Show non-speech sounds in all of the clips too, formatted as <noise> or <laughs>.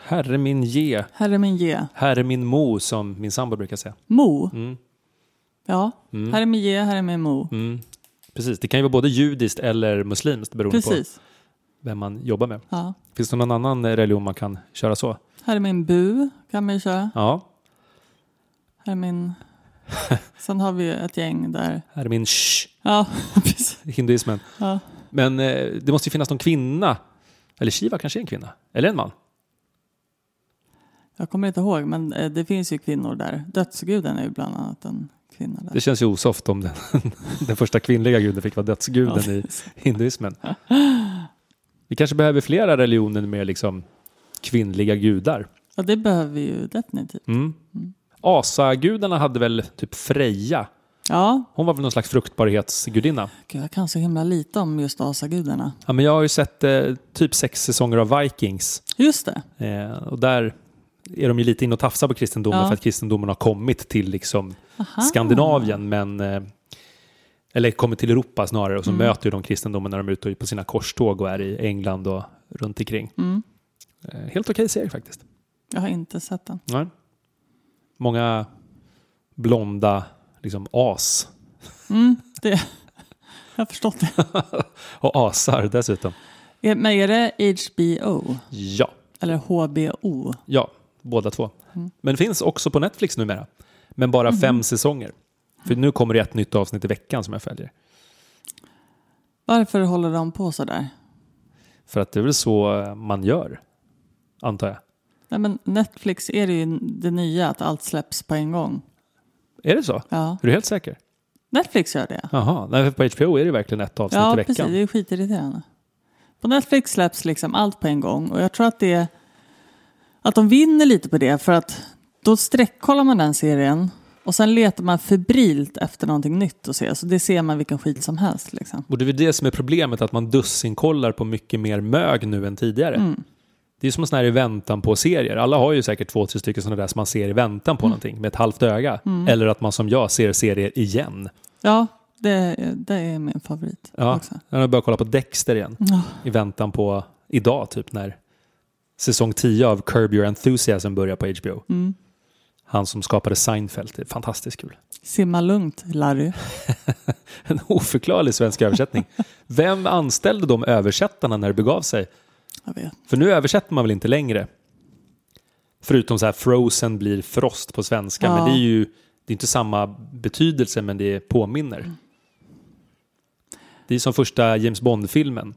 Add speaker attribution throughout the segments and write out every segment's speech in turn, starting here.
Speaker 1: Herre min ge,
Speaker 2: Herre min ge.
Speaker 1: herre min mo som min sambo brukar säga.
Speaker 2: Mo.
Speaker 1: Mm.
Speaker 2: Ja.
Speaker 1: Mm.
Speaker 2: Herre min ge, herre min mo.
Speaker 1: Mm. Precis, det kan ju vara både judiskt eller muslimskt beroende
Speaker 2: Precis.
Speaker 1: på vem man jobbar med.
Speaker 2: Ja.
Speaker 1: Finns det någon annan eh, religion man kan köra så?
Speaker 2: Herre min bu kan man ju köra.
Speaker 1: Ja, <laughs>
Speaker 2: Herre min... Sen har vi ett gäng där.
Speaker 1: herre min sh,
Speaker 2: Ja, <laughs> precis.
Speaker 1: hinduismen.
Speaker 2: Ja.
Speaker 1: Men eh, det måste ju finnas någon kvinna. Eller Shiva kanske är en kvinna. Eller en man.
Speaker 2: Jag kommer inte ihåg, men eh, det finns ju kvinnor där. Dödsguden är ju bland annat en kvinna där.
Speaker 1: Det känns ju osoft om den, <laughs> den första kvinnliga guden fick vara dödsguden i hinduismen. Vi kanske behöver flera religioner med liksom kvinnliga gudar.
Speaker 2: Ja, det behöver vi ju definitivt.
Speaker 1: Mm. Asagudarna hade väl typ Freja.
Speaker 2: Ja,
Speaker 1: Hon var väl någon slags fruktbarhetsgudinna.
Speaker 2: Gud, jag kan så himla lite om just asagudarna.
Speaker 1: Ja, men jag har ju sett eh, typ sex säsonger av Vikings.
Speaker 2: Just det.
Speaker 1: Eh, och där är de ju lite inne och tafsar på kristendomen
Speaker 2: Ja.
Speaker 1: för att kristendomen har kommit till liksom
Speaker 2: Aha.
Speaker 1: Skandinavien, men eh, eller kommer till Europa snarare och så möter ju de kristendomen när de är ute på sina korståg och är i England och runt omkring.
Speaker 2: Mm.
Speaker 1: Eh, Helt okej serie faktiskt.
Speaker 2: Jag har inte sett den.
Speaker 1: Nej. Många blonda liksom as
Speaker 2: Mm, det, jag har förstått det. <laughs>
Speaker 1: och asar dessutom.
Speaker 2: Är- Men är det HBO?
Speaker 1: Ja,
Speaker 2: Eller HBO?
Speaker 1: ja, båda två.
Speaker 2: Mm.
Speaker 1: Men finns också på Netflix numera, men bara fem säsonger. För nu kommer det ett nytt avsnitt i veckan som jag följer.
Speaker 2: Varför håller de på så där?
Speaker 1: För att det är väl så eh, man gör, antar jag.
Speaker 2: Nej, men Netflix är det ju det nya, att allt släpps på en gång.
Speaker 1: Är det så?
Speaker 2: Ja.
Speaker 1: Är du helt säker?
Speaker 2: Netflix gör det.
Speaker 1: Jaha, nej, för på HBO är det verkligen ett avsnitt i
Speaker 2: Ja,
Speaker 1: veckan.
Speaker 2: precis. Det är skitirriterande. På Netflix släpps liksom allt på en gång och jag tror att det är att de vinner lite på det för att då sträckkollar man den serien och sen letar man febrilt efter någonting nytt att se. Så det ser man vilken skit som helst. Liksom.
Speaker 1: Och det är väl det som är problemet, att man dussinkollar på mycket mer mög nu än tidigare.
Speaker 2: Mm.
Speaker 1: Det är som en sån här i väntan på-serier. Alla har ju säkert två, tre stycken sådana där som man ser i väntan
Speaker 2: Mm.
Speaker 1: på någonting med ett halvt öga. Eller att man som jag ser serier igen.
Speaker 2: Ja, det, det är min favorit
Speaker 1: Ja,
Speaker 2: också.
Speaker 1: jag har börjat kolla på Dexter igen
Speaker 2: Ja.
Speaker 1: i väntan på idag, typ när säsong 10 av Curb Your Enthusiasm börjar på HBO.
Speaker 2: Mm.
Speaker 1: Han som skapade Seinfeld. Det är fantastiskt kul. <laughs>
Speaker 2: Simma lugnt, Larry.
Speaker 1: En oförklarlig svensk översättning. Vem anställde de översättarna när det begav sig?
Speaker 2: Jag vet.
Speaker 1: För nu översätter man väl inte längre? Förutom så här Frozen blir frost på svenska.
Speaker 2: Ja.
Speaker 1: Men det är ju det är inte samma betydelse men det påminner. Det är som första James Bond-filmen.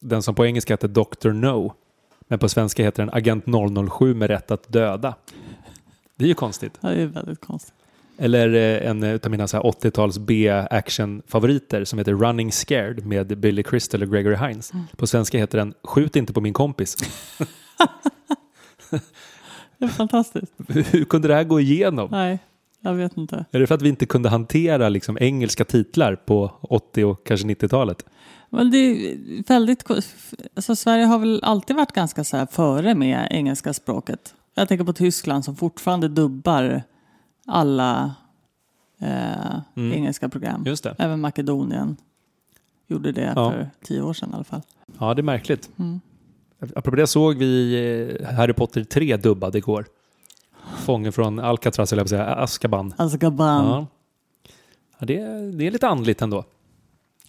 Speaker 1: Den som på engelska heter Dr. No. Men på svenska heter den Agent 007 med rätt att döda. Det är ju konstigt.
Speaker 2: Det är väldigt konstigt.
Speaker 1: Eller eh, en av mina så här 80-tals B-action-favoriter som heter Running Scared med Billy Crystal och Gregory Hines. På svenska heter den Skjut inte på min kompis.
Speaker 2: Det är fantastiskt.
Speaker 1: <laughs> Hur kunde det här gå igenom?
Speaker 2: Nej, jag vet inte.
Speaker 1: Är det för att vi inte kunde hantera liksom engelska titlar på 80 och kanske 90-talet?
Speaker 2: Men det är väldigt... ko- Alltså Sverige har väl alltid varit ganska så här före med engelska språket. Jag tänker på Tyskland som fortfarande dubbar alla eh,
Speaker 1: Mm.
Speaker 2: engelska program.
Speaker 1: Just det.
Speaker 2: Även Makedonien gjorde det
Speaker 1: Ja.
Speaker 2: för tio år sedan i alla fall.
Speaker 1: Ja, det är märkligt.
Speaker 2: Mm.
Speaker 1: Apropå det såg vi eh, Harry Potter 3 dubbad igår. Fången från Alcatraz, eller jag på att säga, Azkaban.
Speaker 2: Alltså Gaban.
Speaker 1: Ja. Ja, det, är- det är lite andligt ändå.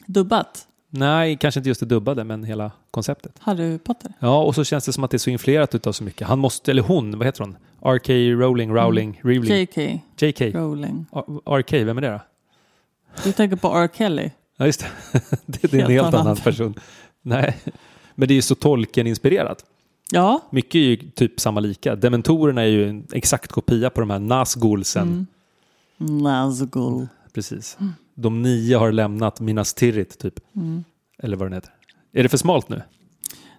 Speaker 2: Dubbat.
Speaker 1: Nej, kanske inte just det dubbade, men hela konceptet.
Speaker 2: Harry Potter.
Speaker 1: Ja, och så känns det som att det är så influerat utav så mycket. Han måste, eller hon, vad heter hon? RK Rowling, Rowling, Rowling,
Speaker 2: J.K.
Speaker 1: JK.
Speaker 2: Rowling.
Speaker 1: R- RK, vem är det då?
Speaker 2: Du tänker på R. Kelly.
Speaker 1: Ja, just det. <laughs> det det är en
Speaker 2: Helt
Speaker 1: helt annan
Speaker 2: annan.
Speaker 1: person. Nej, men det är ju så tolken-inspirerat.
Speaker 2: Ja,
Speaker 1: Mycket är ju typ samma lika. Dementorerna är ju en exakt kopia på de här Nazgulsen.
Speaker 2: Mm. Nazgul.
Speaker 1: Precis.
Speaker 2: Mm.
Speaker 1: De nio har lämnat Minas Tirith, typ. Eller vad den heter. Är det för smalt nu?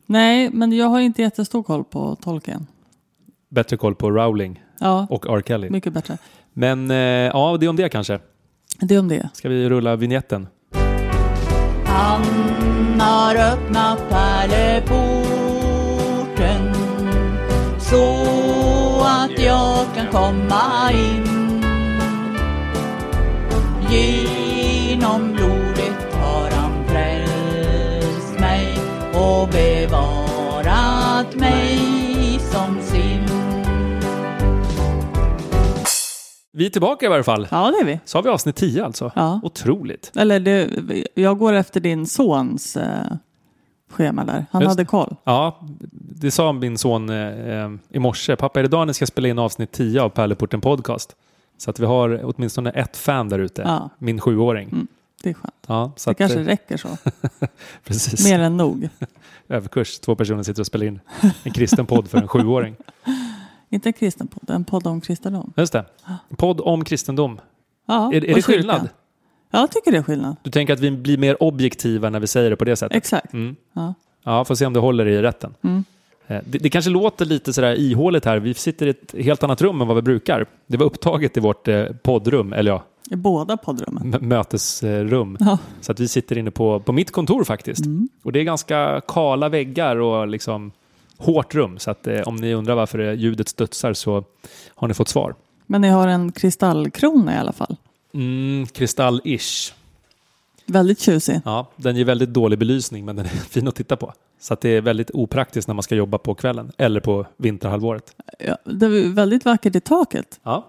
Speaker 2: Nej, men jag har inte jättestor koll på tolken.
Speaker 1: Bättre koll på Rowling
Speaker 2: Ja,
Speaker 1: och R. Kelly.
Speaker 2: mycket bättre.
Speaker 1: Men eh, ja, det är om det kanske.
Speaker 2: Det är om det.
Speaker 1: Ska vi rulla vignetten?
Speaker 2: Han har öppnat pärleporten så att jag kan komma in. Genom blodet har han frälst mig och bevarat mig som sin.
Speaker 1: Vi är tillbaka i varje fall.
Speaker 2: Ja, det är vi.
Speaker 1: Så har vi avsnitt 10 alltså.
Speaker 2: Ja.
Speaker 1: Otroligt.
Speaker 2: Eller det, jag går efter din sons eh, schema där. Han
Speaker 1: Just
Speaker 2: hade koll.
Speaker 1: Ja, det sa min son eh, eh, i morse. Pappa, är det idag ni ska spela in avsnitt 10 av Pärleporten Podcast? Så att vi har åtminstone ett fan där ute.
Speaker 2: Ja,
Speaker 1: Min sjuåring.
Speaker 2: det är skönt.
Speaker 1: Ja, så
Speaker 2: Det
Speaker 1: att,
Speaker 2: kanske
Speaker 1: eh, <laughs>
Speaker 2: räcker så.
Speaker 1: precis.
Speaker 2: Mer än nog.
Speaker 1: Överkurs. Två personer sitter och spelar in en kristen podd för en
Speaker 2: <laughs>
Speaker 1: sjuåring.
Speaker 2: Inte en kristen podd, en podd om kristendom.
Speaker 1: Just det. En podd om kristendom.
Speaker 2: Ja,
Speaker 1: är är
Speaker 2: och
Speaker 1: det
Speaker 2: kyrkan.
Speaker 1: skillnad?
Speaker 2: Ja, jag tycker det är skillnad.
Speaker 1: Du tänker att vi blir mer objektiva när vi säger det på det sättet?
Speaker 2: Exakt.
Speaker 1: Mm.
Speaker 2: Ja.
Speaker 1: Ja, får se om det håller i rätten.
Speaker 2: Mm.
Speaker 1: Eh, Det, det kanske låter lite sådär ihåligt här. Vi sitter i ett helt annat rum än vad vi brukar. Det var upptaget i vårt eh, poddrum, eller ja,
Speaker 2: I båda poddrummen.
Speaker 1: m- mötesrum.
Speaker 2: Ja.
Speaker 1: Så att vi sitter inne på, på mitt kontor faktiskt. Och det är ganska kala väggar och liksom hårt rum. Så att eh, om ni undrar varför det ljudet studsar så har ni fått svar.
Speaker 2: Men ni har en kristallkrona i alla fall.
Speaker 1: Mm, kristall-ish.
Speaker 2: Väldigt tjusig.
Speaker 1: Ja, den ger väldigt dålig belysning men den är <laughs> fin att titta på. Så att det är väldigt opraktiskt när man ska jobba på kvällen eller på vinterhalvåret.
Speaker 2: Ja, det är väldigt vackert i taket.
Speaker 1: Ja,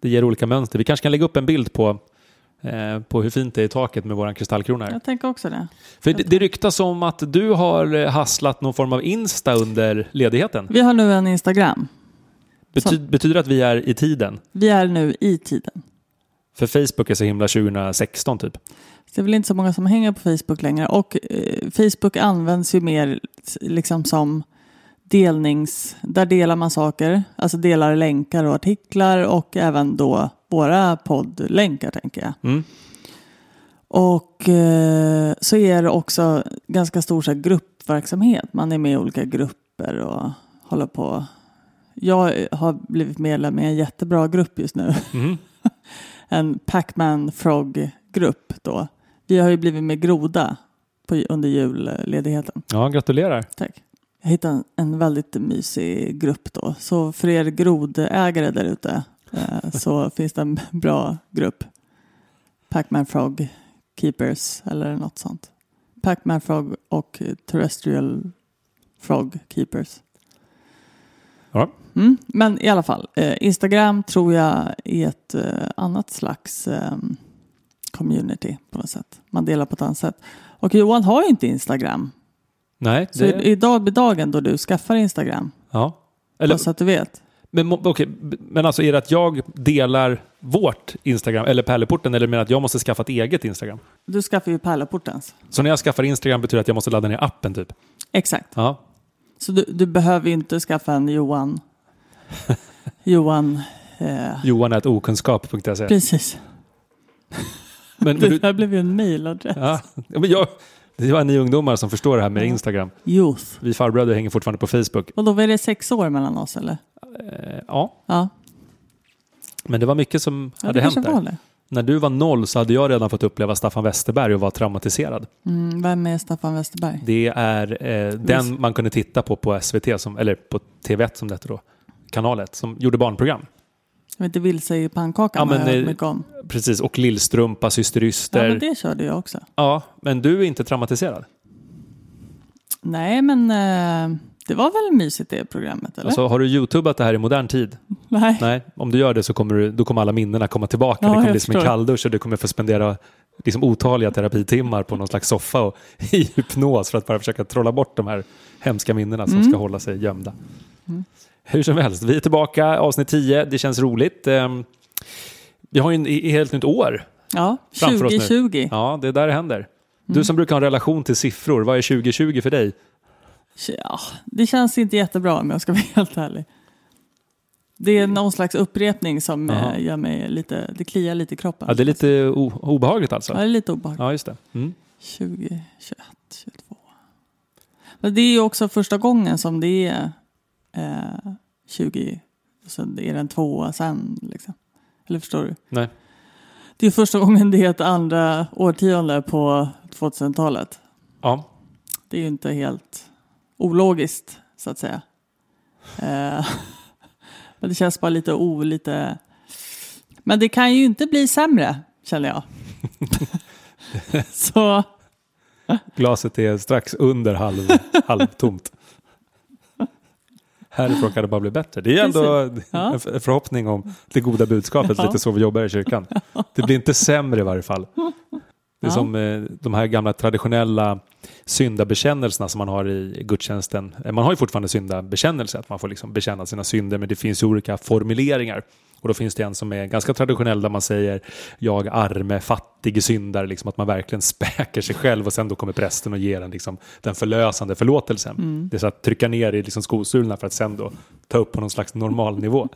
Speaker 1: Det ger olika mönster. Vi kanske kan lägga upp en bild på, eh, på hur fint det är i taket med våran kristallkrona. Här.
Speaker 2: Jag tänker också det.
Speaker 1: För det, det ryktas om att du har eh, hasslat någon form av Insta under ledigheten.
Speaker 2: Vi har nu en Instagram.
Speaker 1: Bety, betyder det att vi är i tiden?
Speaker 2: Vi är nu i tiden.
Speaker 1: För Facebook är så himla 2016 typ.
Speaker 2: Så det är väl inte så många som hänger på Facebook längre. Och eh, Facebook används ju mer s- liksom som delnings... Där delar man saker. Alltså delar länkar och artiklar och även då våra poddlänkar tänker jag.
Speaker 1: Mm.
Speaker 2: Och eh, så är det också ganska stor så här, gruppverksamhet. Man är med i olika grupper och håller på. Jag eh, har blivit medlem i en jättebra grupp just nu.
Speaker 1: Mhm.
Speaker 2: <laughs> en Pac-Man Frog-grupp då. Vi har ju blivit med groda på, under julledigheten.
Speaker 1: Ja, gratulerar.
Speaker 2: Tack. Jag hittade en, en väldigt mysig grupp då. Så för er grodägare där ute eh, så finns det en bra grupp. Pac-Man Frog Keepers eller något sånt. Pac-Man Frog och Terrestrial Frog Keepers.
Speaker 1: Ja.
Speaker 2: Mm, men i alla fall, eh, Instagram tror jag är ett eh, annat slags eh, community på något sätt. Man delar på ett annat sätt. Och Johan har ju inte Instagram.
Speaker 1: Nej,
Speaker 2: Så
Speaker 1: det,
Speaker 2: i- idag blir dagen då du skaffar Instagram.
Speaker 1: ja.
Speaker 2: Eller...
Speaker 1: Eller,
Speaker 2: Så att du vet.
Speaker 1: men, mo- okej, b- men alltså är det att jag delar vårt Instagram, eller pärleporten, eller menar att jag måste skaffa ett eget Instagram?
Speaker 2: Du skaffar ju Pärlaportens.
Speaker 1: Så när jag skaffar Instagram betyder det att jag måste ladda ner appen typ?
Speaker 2: Exakt.
Speaker 1: Ja.
Speaker 2: Så du, du behöver ju inte skaffa
Speaker 1: <laughs>
Speaker 2: en Johan. Johan. Eh,
Speaker 1: Johan.okunskap.se
Speaker 2: precis.
Speaker 1: men, men,
Speaker 2: Det <laughs>
Speaker 1: du-
Speaker 2: där blev ju en mailadress.
Speaker 1: ja, men jag, det var ni ungdomar som förstår det här med
Speaker 2: Ja.
Speaker 1: Instagram.
Speaker 2: Youth.
Speaker 1: Vi farbröder hänger fortfarande på Facebook.
Speaker 2: Och då var det sex år mellan oss eller?
Speaker 1: Eh, ja,
Speaker 2: Ja,
Speaker 1: men det var mycket som
Speaker 2: ja
Speaker 1: hade
Speaker 2: det
Speaker 1: hänt
Speaker 2: kanske var
Speaker 1: där.
Speaker 2: det.
Speaker 1: När du var noll så hade jag redan fått uppleva Staffan Westerberg och var traumatiserad.
Speaker 2: Mm, vem är Staffan Westerberg?
Speaker 1: Det är eh, den man kunde titta på på SVT, som, eller på TV1 som det hette då, kanalet, som gjorde barnprogram.
Speaker 2: Jag vet inte, vilse i pannkakan
Speaker 1: Ja,
Speaker 2: har jag
Speaker 1: men,
Speaker 2: hört
Speaker 1: eh,
Speaker 2: mycket om.
Speaker 1: Precis, och Lillstrumpa, Syster
Speaker 2: Ja,
Speaker 1: Yster.
Speaker 2: men det körde jag också.
Speaker 1: ja, men du är inte traumatiserad?
Speaker 2: Nej, men eh, det var väl mysigt det programmet eller?
Speaker 1: Alltså, har du youtubat det här i modern tid?
Speaker 2: Nej.
Speaker 1: Nej, om du gör det så kommer, du, då kommer alla minnena komma tillbaka.
Speaker 2: Ja,
Speaker 1: det kommer
Speaker 2: jag
Speaker 1: bli som en
Speaker 2: förstår.
Speaker 1: kalldusch och du kommer få spendera liksom, otaliga terapitimmar på någon slags soffa och <laughs> i hypnos för att bara försöka trolla bort de här hemska minnena
Speaker 2: Mm.
Speaker 1: som ska hålla sig gömda. Hur som helst, vi är tillbaka, avsnitt 10. Det känns roligt. Ehm, Vi har ju en, i- i helt nytt år.
Speaker 2: Ja,
Speaker 1: Framför oss nu.
Speaker 2: 2020.
Speaker 1: Ja, det är där det händer.
Speaker 2: Mm.
Speaker 1: Du som brukar ha en relation till siffror, vad är 2020 för dig?
Speaker 2: Ja, det känns inte jättebra om jag ska vara <laughs> helt ärlig. Det är någon slags upprepning som eh,
Speaker 1: Jaha.
Speaker 2: gör mig lite, det kliar lite i kroppen.
Speaker 1: Ja, det är lite o- obehagligt
Speaker 2: Ja, det
Speaker 1: alltså.
Speaker 2: är lite obehagligt.
Speaker 1: Ja, just det. Mm.
Speaker 2: 20, 21, 22. Men det är ju också första gången som det är eh, 20, och sen är det en tvåa sen liksom. Eller förstår du?
Speaker 1: Nej.
Speaker 2: Det är första gången det är ett andra årtionde på 2000-talet.
Speaker 1: Ja.
Speaker 2: Det är ju inte helt ologiskt, så att säga. Eh, <laughs> men det känns bara lite o... Lite... Men det kan ju inte bli sämre, känner jag. så <laughs>
Speaker 1: Glaset är strax under halv, halvtomt. Härifrån kan det bara bli bättre. Det är ändå
Speaker 2: Ja.
Speaker 1: en f- förhoppning om det goda budskapet, lite så vi jobbar i kyrkan. Det blir inte sämre i varje fall. Det är
Speaker 2: Ja.
Speaker 1: som eh, de här gamla traditionella syndabekännelserna som man har i gudstjänsten. Eh, Man har ju fortfarande syndabekännelse, att man får liksom bekänna sina synder, men det finns ju olika formuleringar. Och då finns det en som är ganska traditionell där man säger jag arme fattig syndare, liksom att man verkligen <laughs> späker sig själv och sen då kommer prästen och ger en liksom, den förlösande förlåtelsen.
Speaker 2: Mm.
Speaker 1: Det är så att trycka ner i liksom skosulorna för att sen då ta upp på någon slags normalnivå.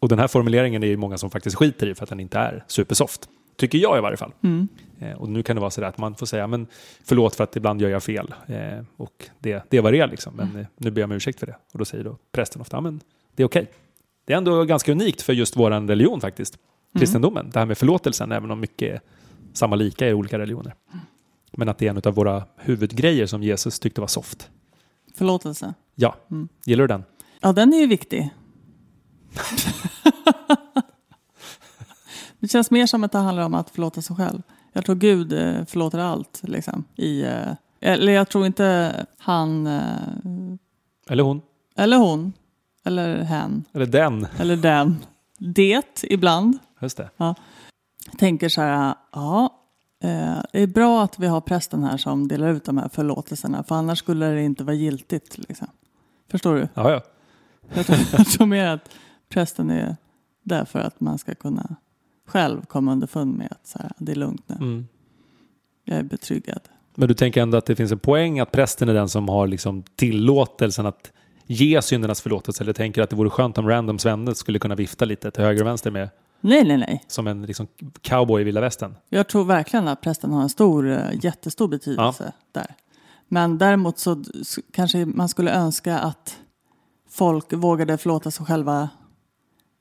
Speaker 1: Och den här formuleringen är ju många som faktiskt skiter i för att den inte är supersoft. Tycker jag i varje fall.
Speaker 2: mm.
Speaker 1: Eh, och nu kan det vara så där att man får säga men förlåt för att ibland gör jag fel. Eh, och det, det var det är liksom. Men eh, nu ber jag om ursäkt för det. Och då säger då prästen ofta "Ja, men det är okej. Det är ändå ganska unikt för just våran religion faktiskt. Kristendomen. Det här med förlåtelsen även om mycket är samma lika i olika religioner. Men att det är en av våra huvudgrejer som Jesus tyckte var soft.
Speaker 2: Förlåtelse.
Speaker 1: Ja, gillar du den?
Speaker 2: Ja, den är ju viktig. <laughs> det känns mer som att det handlar om att förlåta sig själv. Jag tror Gud eh, förlåter allt. Liksom, i, eh, eller jag tror inte han, eh,
Speaker 1: Eller hon?
Speaker 2: eller hon, eller hen,
Speaker 1: Eller den?
Speaker 2: eller den. Det ibland.
Speaker 1: Just det.
Speaker 2: tänker så här, ja, eh, det är bra att vi har prästen här som delar ut de här förlåtelserna, för annars skulle det inte vara giltigt. Liksom. Förstår du? <laughs>
Speaker 1: Ja, ja.
Speaker 2: Jag tror, jag tror mer att prästen är där för att man ska kunna själv komma underfund med att så här, det är lugnt nu,
Speaker 1: Mm.
Speaker 2: jag är betryggad.
Speaker 1: Men du tänker ändå att det finns en poäng att prästen är den som har liksom tillåtelsen att ge syndernas förlåtelse? Eller tänker att det vore skönt om randoms vänner skulle kunna vifta lite till höger och vänster med
Speaker 2: Nej, nej, nej.
Speaker 1: som en liksom cowboy i vilda västern?
Speaker 2: Jag tror verkligen att prästen har en stor, eh, jättestor betydelse där. Men däremot så d- s- kanske man skulle önska att folk vågade förlåta sig själva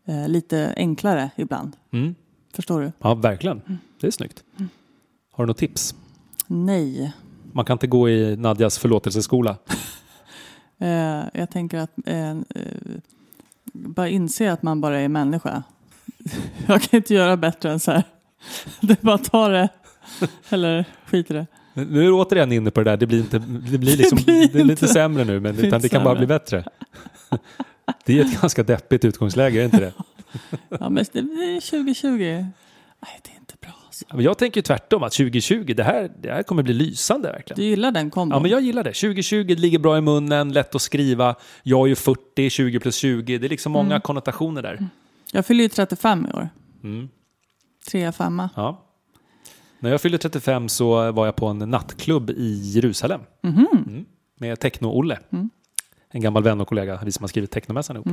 Speaker 2: eh, lite enklare ibland.
Speaker 1: Mm.
Speaker 2: Förstår du?
Speaker 1: Ja, verkligen.
Speaker 2: Mm.
Speaker 1: Det är snyggt. Har du något tips?
Speaker 2: Nej.
Speaker 1: Man kan inte gå i Nadjas förlåtelseskola.
Speaker 2: Eh, jag tänker att eh, eh, bara inse att man bara är människa. <laughs> jag kan inte göra bättre än så här. <laughs> det är bara att ta det. <laughs> Eller skit i det.
Speaker 1: Men Nu är du återigen inne på det där, det blir, inte, det
Speaker 2: <laughs>
Speaker 1: blir, liksom, det
Speaker 2: blir
Speaker 1: är lite
Speaker 2: inte-
Speaker 1: sämre nu, men
Speaker 2: blir
Speaker 1: utan
Speaker 2: inte
Speaker 1: det kan bara
Speaker 2: sämre.
Speaker 1: bli bättre. <laughs> Det är ett ganska deppigt utgångsläge, är det inte
Speaker 2: <laughs>
Speaker 1: det?
Speaker 2: Ja, men det är 2020. Nej, det är inte bra. Alltså.
Speaker 1: Men Jag tänker ju tvärtom, att 2020, det här, det här kommer bli lysande verkligen.
Speaker 2: Du gillar den kombon?
Speaker 1: Ja, men jag gillar det. 2020 det ligger bra i munnen, lätt att skriva. Jag är ju 40, 20 plus 20. Det är liksom många konnotationer där.
Speaker 2: Jag fyller ju 35 i år.
Speaker 1: Mm.
Speaker 2: Trea, femma.
Speaker 1: Ja. När jag fyllde 35 så var jag på en nattklubb i Jerusalem. Mm. Med Techno-Olle. En gammal vän och kollega, vi som har skrivit Technomässan ihop.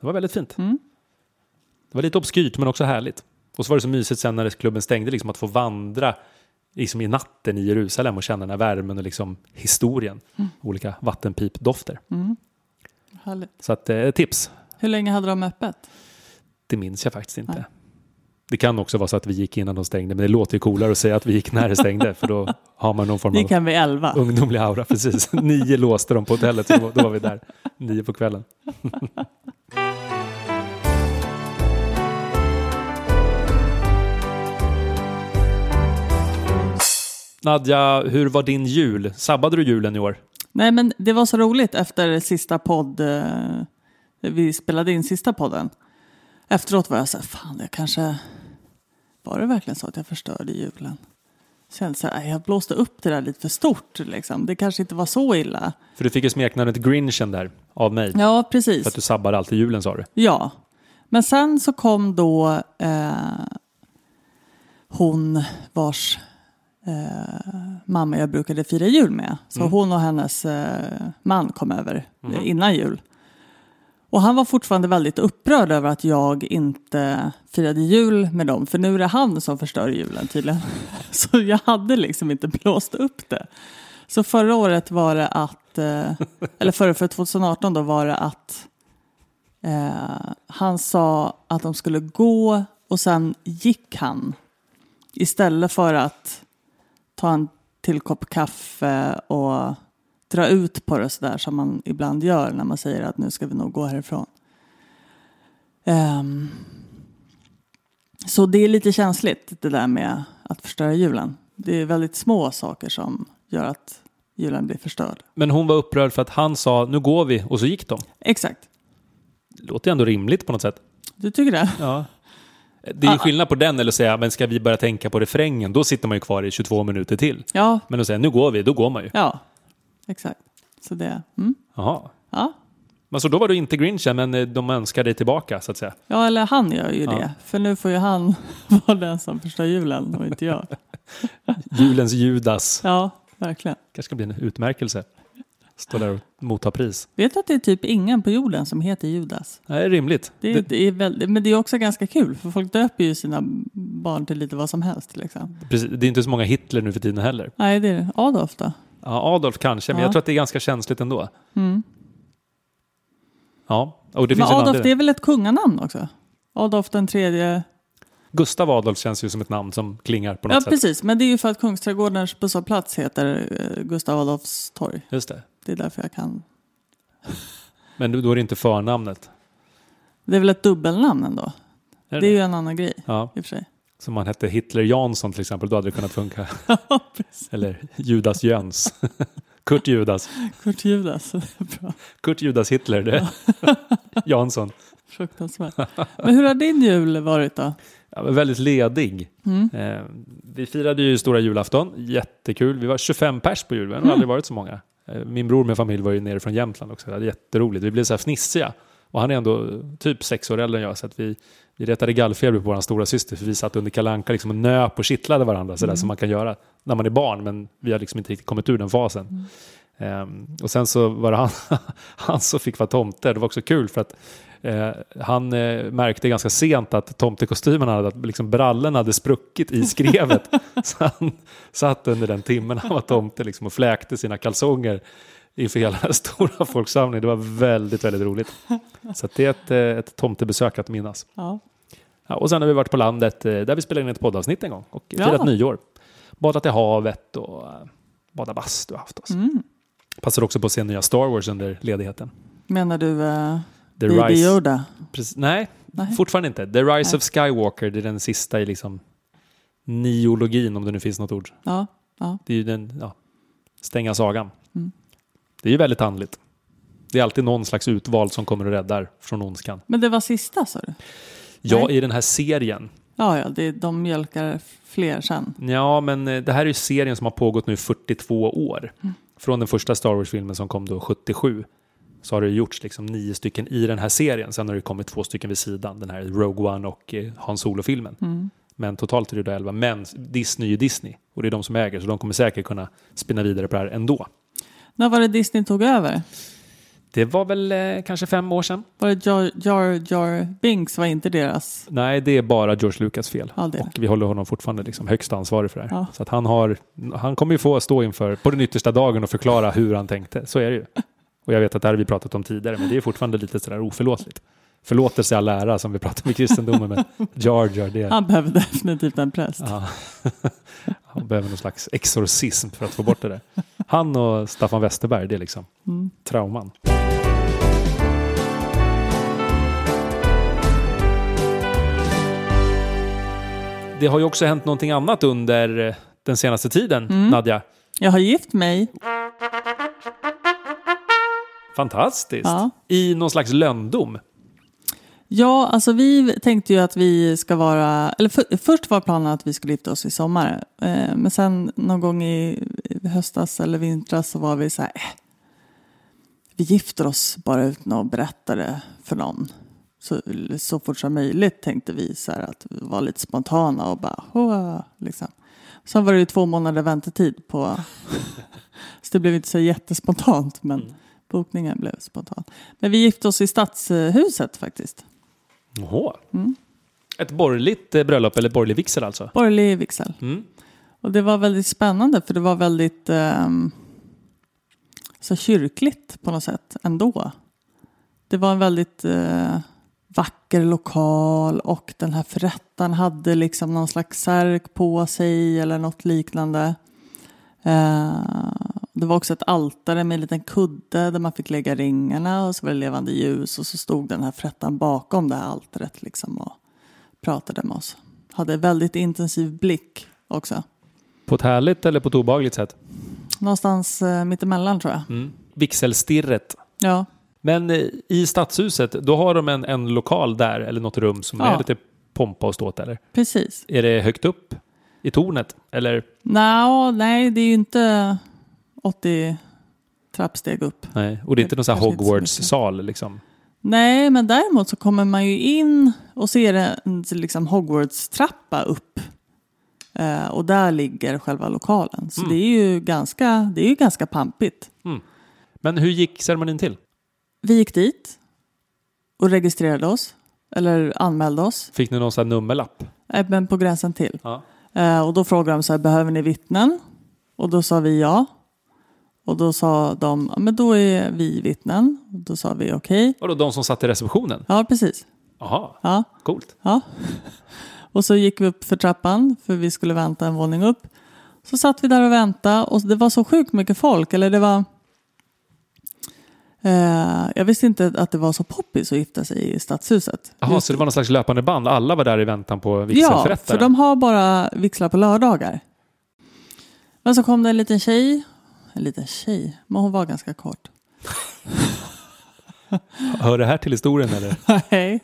Speaker 1: Det var väldigt fint. Det var lite obskyrt men också härligt. Och så var det så mysigt sen när klubben stängde liksom, att få vandra liksom, i natten i Jerusalem och känna den här värmen och liksom, historien. Olika vattenpipdofter.
Speaker 2: Härligt.
Speaker 1: Så att, eh, tips,
Speaker 2: Hur länge hade de öppet?
Speaker 1: Det minns jag faktiskt inte.
Speaker 2: Nej.
Speaker 1: Det kan också vara så att vi gick innan de stängde, men det låter ju coolare att säga att vi gick när det stängde, för då har man någon form
Speaker 2: Det
Speaker 1: av
Speaker 2: kan vi elva.
Speaker 1: ungdomlig aura. Precis. <laughs> Nio låste de på hotellet, så då- då var vi där. Nio på kvällen. <laughs> Nadja, hur var din jul? Sabbade du julen i år?
Speaker 2: Nej, men det var så roligt efter sista podd. eh, Vi spelade in sista podden. Efteråt var jag så här, fan jag kanske... Var det verkligen så att jag förstörde julen? Kände så här, "Aj, jag blåste upp det där lite för stort liksom. Det kanske inte var så illa.
Speaker 1: För du fick ju smeknamnet Grinchen där, av mig.
Speaker 2: Ja, precis.
Speaker 1: För att du sabbade alltid julen sa du.
Speaker 2: Ja, men sen så kom då eh, hon vars eh, mamma jag brukade fira jul med. Så hon och hennes eh, man kom över eh, innan jul. Och han var fortfarande väldigt upprörd över att jag inte firade jul med dem. För nu är det han som förstör julen tydligen. <laughs> Så jag hade liksom inte blåst upp det. Så förra året var det att, eh, eller förra för 2018 då var det att Eh, han sa att de skulle gå och sen gick han. Istället för att ta en till kopp kaffe och dra ut på det sådär som man ibland gör när man säger att nu ska vi nog gå härifrån. Ehm, så det är lite känsligt det där med att förstöra julen. Det är väldigt små saker som gör att julen blir förstörd.
Speaker 1: Men hon var upprörd för att han sa nu går vi och så gick de.
Speaker 2: Exakt.
Speaker 1: Låter ju ändå rimligt på något sätt.
Speaker 2: Du tycker det?
Speaker 1: Ja. Det är ju skillnad på den eller att säga men ska vi börja tänka på refrängen? Då sitter man ju kvar i 22 minuter till.
Speaker 2: Ja.
Speaker 1: Men att säga nu går vi, då går man ju.
Speaker 2: Ja. Exakt. Så det... Mm.
Speaker 1: Jaha.
Speaker 2: Ja.
Speaker 1: Men så då var du inte grinchen men eh, de önskar dig tillbaka så att säga.
Speaker 2: ja, eller han gör ju det. För nu får ju han <laughs> vara den som förstör julen och inte <laughs> jag.
Speaker 1: Julens Judas.
Speaker 2: Ja, verkligen.
Speaker 1: kanske ska bli en utmärkelse. Stå där och motta pris.
Speaker 2: Vet du att det är typ ingen på jorden som heter Judas?
Speaker 1: Nej, Det är rimligt.
Speaker 2: Det, är- det är väldigt, men det är också ganska kul för folk döper ju sina barn till lite vad som helst. Liksom.
Speaker 1: Precis, det är inte så många Hitler nu för tiden heller.
Speaker 2: Nej, det är Adolf då.
Speaker 1: Ja, Adolf kanske, men
Speaker 2: Ja.
Speaker 1: jag tror att det är ganska känsligt ändå. Ja, och det
Speaker 2: men
Speaker 1: finns en
Speaker 2: Adolf, det
Speaker 1: anledning.
Speaker 2: är väl ett kunganamn också? Adolf den tredje.
Speaker 1: Gustav Adolf känns ju som ett namn som klingar på något
Speaker 2: Ja,
Speaker 1: sätt.
Speaker 2: precis. Men det är ju för att Kungsträdgårdens busshållplats heter eh, Gustav Adolfs torg.
Speaker 1: Just det.
Speaker 2: Det är därför jag kan.
Speaker 1: Men då är det inte förnamnet.
Speaker 2: Det är väl ett dubbelnamn ändå?
Speaker 1: Är det
Speaker 2: Det är
Speaker 1: det?
Speaker 2: ju en annan grej
Speaker 1: Ja,
Speaker 2: i och för <laughs> sig.
Speaker 1: som man hette Hitler Jansson till exempel, då hade det kunnat funka.
Speaker 2: <laughs> Ja, precis.
Speaker 1: Eller Judas Jöns. <laughs> Kurt Judas.
Speaker 2: Kurt Judas. Det är bra.
Speaker 1: Kurt Judas Hitler, det. Jansson.
Speaker 2: <laughs> <laughs> Fruktansvärt. Men hur har din jul varit då? Mm,
Speaker 1: Ja, men väldigt ledig. Eh, vi firade ju stora julafton, jättekul. Vi var 25 pers på julen, det har aldrig varit så många. Eh, min bror med familj var ju nere från Jämtland också, det var jätteroligt. Vi blev så här fnissiga. Och han är ändå typ sex år äldre än jag, så att vi, vi retade gallfeber på vår stora syster för vi satt under kalanka liksom och nöp och kittlade varandra sådär som man kan göra när man är barn, men vi har liksom inte riktigt kommit ur den fasen. Ehm, och sen så var det han, <laughs> han som fick vara tomte. Det var också kul för att eh, han eh, märkte ganska sent att tomtekostymen han hade, att liksom brallen hade spruckit i
Speaker 2: <laughs>
Speaker 1: skrevet. så han satt under den timmen han var tomte liksom, och fläkte sina kalsonger inför hela den stora folksamlingen. Det var väldigt, väldigt roligt. Så att det är ett, eh, ett tomtebesök att minnas.
Speaker 2: Ja.
Speaker 1: Ja, och sen har vi varit på landet eh, där vi spelade in ett poddavsnitt en gång och
Speaker 2: Ja.
Speaker 1: firat nyår. Badat i havet och eh, badat bastu och haft oss.
Speaker 2: Mm.
Speaker 1: Passade också på att se nya Star Wars under ledigheten.
Speaker 2: Menar du eh,
Speaker 1: The
Speaker 2: Baby
Speaker 1: Rise.
Speaker 2: Yoda?
Speaker 1: Precis, nej,
Speaker 2: Nej.
Speaker 1: fortfarande inte. The Rise
Speaker 2: Nej.
Speaker 1: of Skywalker, det är den sista i liksom niologin om det nu finns något ord.
Speaker 2: Ja, ja.
Speaker 1: Det är ju den, ja, stänga sagan.
Speaker 2: Mm.
Speaker 1: Det är ju väldigt handligt. Det är alltid någon slags utvald som kommer och räddar från ondskan.
Speaker 2: Men det var sista sa du?
Speaker 1: Ja,
Speaker 2: Nej.
Speaker 1: i den här serien.
Speaker 2: Ja, ja, det, är- de mjölkar fler sen.
Speaker 1: Ja, men eh, det här är ju serien som har pågått nu i 42 år. Från den första Star Wars-filmen som kom då 77 så har det ju gjorts liksom nio stycken i den här serien. Sen har det kommit två stycken vid sidan, den här Rogue One och eh, Han Solo-filmen. Men totalt är det då 11. Men Disney är ju Disney och det är de som äger så de kommer säkert kunna spinna vidare på det här ändå.
Speaker 2: När var det Disney tog över?
Speaker 1: Det var väl eh, kanske fem år sedan?
Speaker 2: Var det Jar Jar, Jar Binks var inte deras?
Speaker 1: Nej, det är bara George Lucas fel.
Speaker 2: Ja, det är det.
Speaker 1: och vi håller honom fortfarande liksom högst ansvarig för det här.
Speaker 2: Ja.
Speaker 1: Så att han, har, han kommer ju få stå inför på den yttersta dagen och förklara hur han tänkte. Så är det ju. Och jag vet att det här har vi pratat om tidigare, men det är fortfarande lite sådär oförlåtligt. Förlåtelse är all ära som vi pratar om i kristendomen, men Jar Jar, det
Speaker 2: Han behöver <laughs> definitivt en präst.
Speaker 1: ja. <laughs> han behöver någon slags exorcism för att få bort det där. Han och Staffan Westerberg, det är liksom
Speaker 2: Mm.
Speaker 1: trauman. Det har ju också hänt någonting annat under eh, den senaste tiden,
Speaker 2: Mm.
Speaker 1: Nadja.
Speaker 2: Jag har gift mig.
Speaker 1: Fantastiskt!
Speaker 2: Ja.
Speaker 1: I någon slags lönndom.
Speaker 2: Ja, alltså vi tänkte ju att vi ska vara... Eller för, först var planen att vi skulle gifta oss i sommar. Eh, men sen någon gång i, i höstas eller vintras så var vi så här... Eh, vi gifter oss bara utan att berätta det för någon. Så, så fort som möjligt tänkte vi så här att vara lite spontana och bara... "Hå", Liksom. Sen var det ju två månader väntetid på... <laughs> så det blev inte så jättespontant men bokningen blev spontan. Men vi gifte oss i Stadshuset faktiskt.
Speaker 1: Oho.
Speaker 2: Mm.
Speaker 1: Ett borgerligt eh, bröllop, eller borgerlig vigsel alltså.
Speaker 2: Borgerlig vigsel.
Speaker 1: Mm.
Speaker 2: Och det var väldigt spännande för det var väldigt ehm, så kyrkligt på något sätt ändå. Det var en väldigt eh, vacker lokal och den här förrättaren hade liksom någon slags särk på sig eller något liknande. Eh, det var också ett altare med en liten kudde där man fick lägga ringarna och så var det levande ljus och så stod den här förrättaren bakom det här altaret liksom och pratade med oss. Hade väldigt intensiv blick också.
Speaker 1: På ett härligt eller på ett obehagligt sätt?
Speaker 2: någonstans eh, mittemellan tror jag.
Speaker 1: Mm. Vigselstirret.
Speaker 2: Ja.
Speaker 1: Men eh, i stadshuset, då har de en, en lokal där, eller något rum som
Speaker 2: Ja.
Speaker 1: är lite pompa och ståt eller?
Speaker 2: Precis.
Speaker 1: Är det högt upp i tornet? Eller?
Speaker 2: Nå, nej, det är ju inte 80 trappsteg upp.
Speaker 1: Nej. Och det är inte någon sån här
Speaker 2: Kanske inte så
Speaker 1: Hogwarts-sal liksom?
Speaker 2: Nej, men däremot så kommer man ju in och ser en liksom Hogwarts-trappa upp. Eh, och där ligger själva lokalen. Så
Speaker 1: Mm.
Speaker 2: det, är ju ganska, det är ju ganska pampigt.
Speaker 1: Men hur gick ceremonin till?
Speaker 2: Vi gick dit och registrerade oss. Eller anmälde oss.
Speaker 1: Fick ni någon sån här nummerlapp?
Speaker 2: Eh, Men på gränsen till.
Speaker 1: Ja.
Speaker 2: Eh, och då frågade de så här, behöver ni vittnen? Och då sa vi ja. Och då sa de, ja men då är vi vittnen. Och då sa vi okej.
Speaker 1: Och då de som satt i receptionen?
Speaker 2: Ja, precis.
Speaker 1: Jaha,
Speaker 2: Ja.
Speaker 1: coolt.
Speaker 2: Ja. Och så gick vi upp för trappan för vi skulle vänta en våning upp. Så satt vi där och väntade och det var så sjukt mycket folk. Eller det var... Eh, jag visste inte att det var så poppis att gifta sig i stadshuset.
Speaker 1: Jaha, så det var någon slags löpande band? Alla var där i väntan på
Speaker 2: ja,
Speaker 1: vigselförrättaren?
Speaker 2: för de har bara vigslar på lördagar. Men så kom det en liten tjej. En liten tjej, men hon var ganska kort. <laughs>
Speaker 1: Hör det här till historien eller?
Speaker 2: Nej.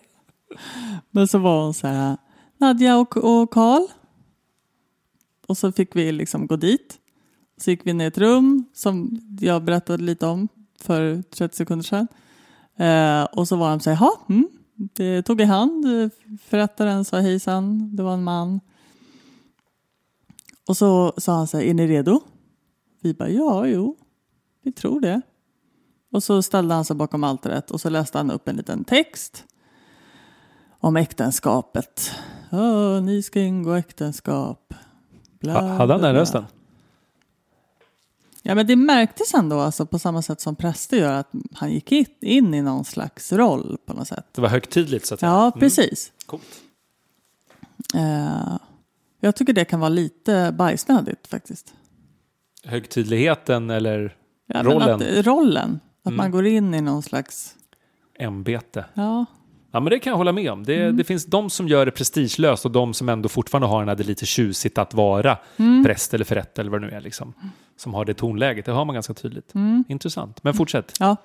Speaker 2: Men så var hon så här, Nadja och, och Karl. Och så fick vi liksom gå dit. Så gick vi ner i ett rum som jag berättade lite om för 30 sekunder sedan. Eh, och så var de så här, "Jaha, mm. det tog i hand. Eh, Förrättaren sa hejsan, det var en man. Och så sa han så här, är ni redo? Vi bara, ja, jo, vi tror det. Och så ställde han sig bakom altaret och så läste han upp en liten text om äktenskapet. Åh, ni ska ingå äktenskap. Bla,
Speaker 1: Ha, hade han
Speaker 2: bla,
Speaker 1: den
Speaker 2: bla.
Speaker 1: rösten?
Speaker 2: Ja, men det märktes ändå alltså, på samma sätt som präster gör att han gick i- in i någon slags roll på något sätt.
Speaker 1: Det var högtidligt så att säga?
Speaker 2: Ja, precis.
Speaker 1: Coolt.
Speaker 2: Eh, jag tycker det kan vara lite bajsnödigt faktiskt.
Speaker 1: Högtidligheten eller
Speaker 2: Ja,
Speaker 1: Rollen.
Speaker 2: Men att, rollen. Att
Speaker 1: Mm.
Speaker 2: man går in i någon slags...
Speaker 1: ämbete?
Speaker 2: Ja,
Speaker 1: Ja, men det kan jag hålla med om. Det,
Speaker 2: Mm.
Speaker 1: det finns de som gör det prestigelöst och de som ändå fortfarande har den här det lite tjusigt att vara
Speaker 2: Mm.
Speaker 1: präst eller förrätt eller vad det nu är. Liksom, som har det tonläget. Det har man ganska tydligt. Intressant. Men fortsätt.
Speaker 2: Mm. ja.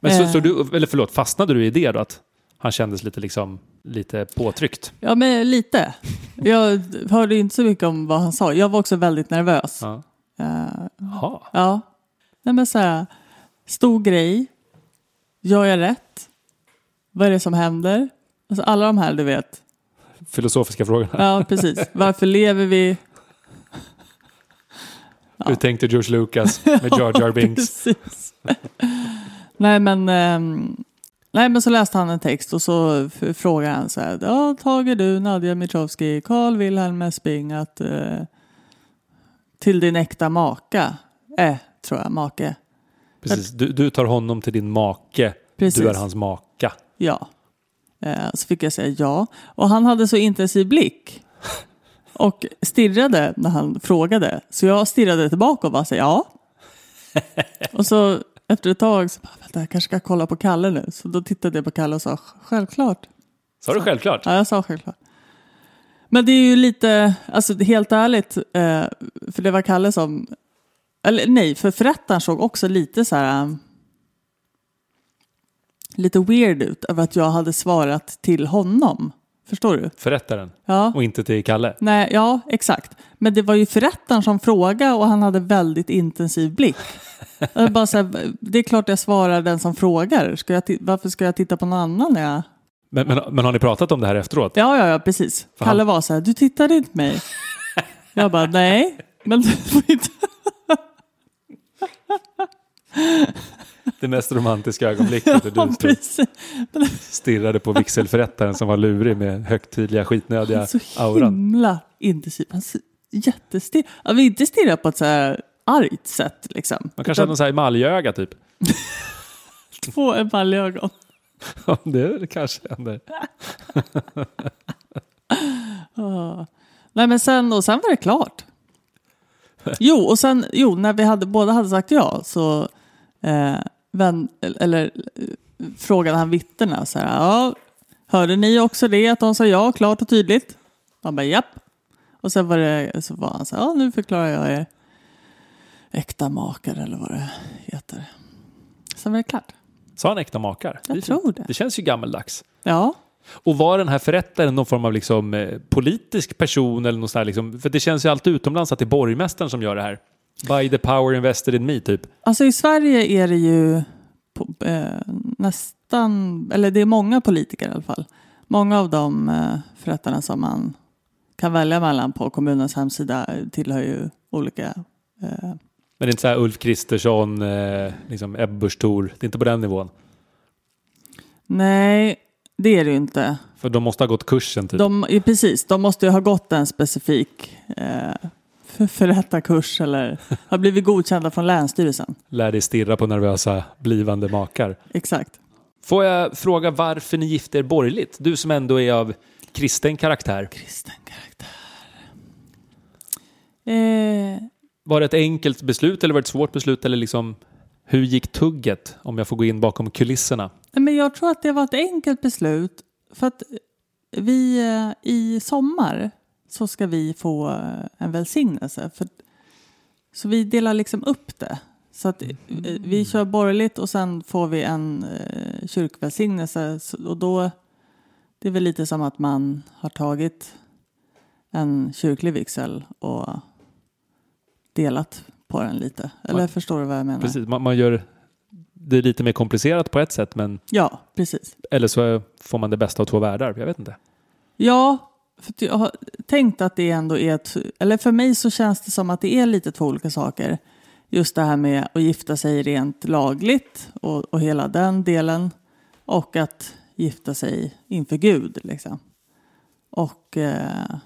Speaker 1: Men så,
Speaker 2: Eh.
Speaker 1: så du, eller förlåt, fastnade du i det då? Att han kändes lite, liksom, lite påtryckt?
Speaker 2: ja men lite. Jag hörde ju inte så mycket om vad han sa. Jag var också väldigt nervös.
Speaker 1: Ja.
Speaker 2: Eh,
Speaker 1: Jaha.
Speaker 2: Ja. Nej, men så här, stor grej. Gör jag rätt? Vad är det som händer? Alltså alla de här, du vet.
Speaker 1: Filosofiska frågorna.
Speaker 2: Ja, precis. Varför lever vi?
Speaker 1: Hur tänkte George Lucas
Speaker 2: <laughs>
Speaker 1: med Jar Jar Binks?
Speaker 2: Precis. <laughs> nej, men, ehm, nej, men så läste han en text och så f- frågar han så här. Ja, Tage du, Nadja Mitrovski, Carl Wilhelm Esping att eh, till din äkta maka. Eh, tror jag, make.
Speaker 1: Precis. Du, du tar honom till din make.
Speaker 2: Precis.
Speaker 1: Du är hans maka.
Speaker 2: Ja. Eh, Så fick jag säga ja. Och han hade så intensiv blick. Och stirrade när han frågade. Så jag stirrade tillbaka och bara sa ja. Och så efter ett tag så bara, vänta jag kanske ska kolla på Kalle nu. Så då tittade jag på Kalle och sa självklart.
Speaker 1: Sa du självklart?
Speaker 2: Ja, jag sa självklart. Men det är ju lite, alltså helt ärligt, eh, för det var Kalle som, eller nej, för förrättaren såg också lite så här, eh, lite weird ut över att jag hade svarat till honom. Förstår du?
Speaker 1: Förrättaren.
Speaker 2: Ja,
Speaker 1: Och inte till Kalle.
Speaker 2: nej, ja exakt. Men det var ju förrättaren som frågade och han hade väldigt intensiv blick. Jag bara så här, det är klart jag svarar den som frågar. Ska jag ti- varför ska jag titta på någon annan när jag
Speaker 1: Men, men, men har ni pratat om det här efteråt?
Speaker 2: Ja, ja, ja precis.
Speaker 1: För
Speaker 2: Kalle
Speaker 1: han-
Speaker 2: var så här, du tittade inte
Speaker 1: <laughs>
Speaker 2: på mig. Jag bara, nej, men du får inte.
Speaker 1: Det mest romantiska
Speaker 2: <laughs>
Speaker 1: ögonblicket när du stod och
Speaker 2: Precis.
Speaker 1: stirrade på vigselförrättaren som var lurig med högtidliga skitnödiga
Speaker 2: Så
Speaker 1: auran.
Speaker 2: himla intensiv. Han ser jättestirrig. Ja, vi inte stirrar på ett så här argt sätt liksom.
Speaker 1: Man kanske hade någon sån här emaljöga typ. <laughs>
Speaker 2: Två emaljögon.
Speaker 1: Ja, det kanske händer.
Speaker 2: Nej, men sen, och sen var det klart. Jo, och sen, jo, när vi hade, båda hade sagt ja så eh, vän, eller, eh, frågade han vittnena så här, ja, hörde ni också det att de sa ja klart och tydligt? Han bara japp. Och sen var det, så var han så här, ja nu förklarar jag er Äkta makar eller vad det heter. Sen var det klart.
Speaker 1: Sa han äkta makar?
Speaker 2: Jag
Speaker 1: det,
Speaker 2: tror det.
Speaker 1: Det känns ju gammeldags.
Speaker 2: Ja,
Speaker 1: Och var den här förrättaren någon form av liksom, eh, politisk person eller något sånt här, liksom, För det känns ju alltid utomlands att det är borgmästaren som gör det här. By the power invested in me, typ.
Speaker 2: alltså i Sverige är det ju på, eh, nästan, eller det är många politiker i alla fall. Många av de eh, förrättarna som man kan välja mellan på kommunens hemsida eh, tillhör ju olika eh,
Speaker 1: Men det är inte så här Ulf Kristersson, eh, liksom Ebbe Busch Thor. Det är inte på den nivån.
Speaker 2: Nej, det är det ju inte.
Speaker 1: För de måste ha gått kursen, typ.
Speaker 2: De, ja, precis, de måste ju ha gått en specifik eh, för- förrättarkurs <laughs> eller har blivit godkända från Länsstyrelsen.
Speaker 1: Lär dig stirra på nervösa blivande makar.
Speaker 2: Exakt.
Speaker 1: Får jag fråga varför ni gifte er borgerligt? Du som ändå är av kristen karaktär.
Speaker 2: Kristen karaktär. Eh,
Speaker 1: Var det ett enkelt beslut eller var det ett svårt beslut? Eller liksom, hur gick tugget? Om jag får gå in bakom kulisserna.
Speaker 2: nej, men jag tror att det var ett enkelt beslut. För att vi eh, i sommar så ska vi få eh, en välsignelse. För, så vi delar liksom upp det. Så att eh, vi kör borgerligt och sen får vi en eh, kyrkvälsignelse. Så- Och då, det är väl lite som att man har tagit en kyrklig vigsel och delat på den lite. Eller
Speaker 1: Man-
Speaker 2: förstår du vad jag menar?
Speaker 1: Precis, man, man gör det lite mer komplicerat på ett sätt, men
Speaker 2: Ja, precis.
Speaker 1: eller så får man det bästa av två världar. Jag vet inte.
Speaker 2: Ja, för att jag har tänkt att det ändå är ett, eller för mig så känns det som att det är lite två olika saker. Just det här med att gifta sig rent lagligt och, och hela den delen och att gifta sig inför Gud. Liksom. Och eh,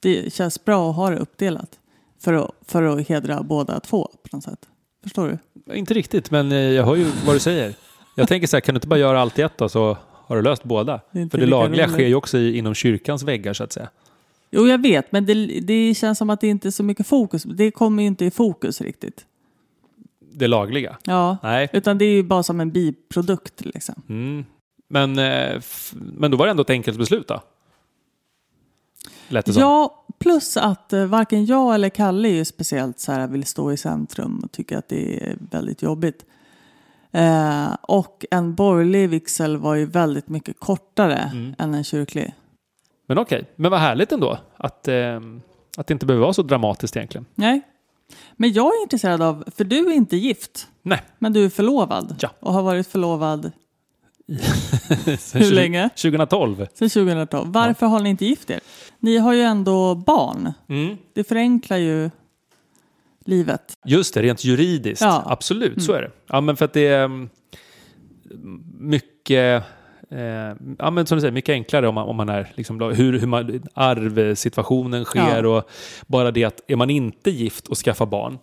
Speaker 2: det känns bra att ha det uppdelat för att, för att hedra båda två på något sätt. Förstår du?
Speaker 1: Inte riktigt, men eh, jag hör ju vad du säger. Jag tänker så här, kan du inte bara göra allt i ett då, så har du löst båda?
Speaker 2: Det är inte
Speaker 1: För det
Speaker 2: lika
Speaker 1: lagliga
Speaker 2: roligt.
Speaker 1: sker ju också i, inom kyrkans väggar, så att säga.
Speaker 2: Jo, jag vet, men det, det känns som att det inte är så mycket fokus. Det kommer ju inte i fokus riktigt.
Speaker 1: Det lagliga.
Speaker 2: Ja,
Speaker 1: Nej.
Speaker 2: Utan det är ju bara som en biprodukt. Liksom.
Speaker 1: Mm. Men, eh, f- men då var det ändå ett enkelt beslut då? Lät det som.
Speaker 2: Ja, plus att eh, varken jag eller Kalle är ju speciellt så här, vill stå i centrum och tycker att det är väldigt jobbigt. Eh, och en borgerlig vigsel var ju väldigt mycket kortare
Speaker 1: Mm.
Speaker 2: än en kyrklig.
Speaker 1: Men okej, men vad härligt ändå att, eh, att det inte behöver vara så dramatiskt egentligen.
Speaker 2: Nej. Men jag är intresserad av, för du är inte gift,
Speaker 1: Nej.
Speaker 2: men du är förlovad.
Speaker 1: Ja.
Speaker 2: Och har varit förlovad
Speaker 1: Sen tjugo-
Speaker 2: länge?
Speaker 1: 2012.
Speaker 2: sedan 2012. Varför har ni inte gift er? Ni har ju ändå barn.
Speaker 1: Mm.
Speaker 2: Det förenklar ju livet.
Speaker 1: Just det, rent juridiskt.
Speaker 2: Ja. Mm.
Speaker 1: Absolut, så är det. Ja, men för att det är mm, mycket, eh, ja, men som du säger, mycket enklare om man, om man är, liksom, hur, hur man, arvsituationen sker
Speaker 2: Ja.
Speaker 1: och bara det att är man inte gift och skaffar barn,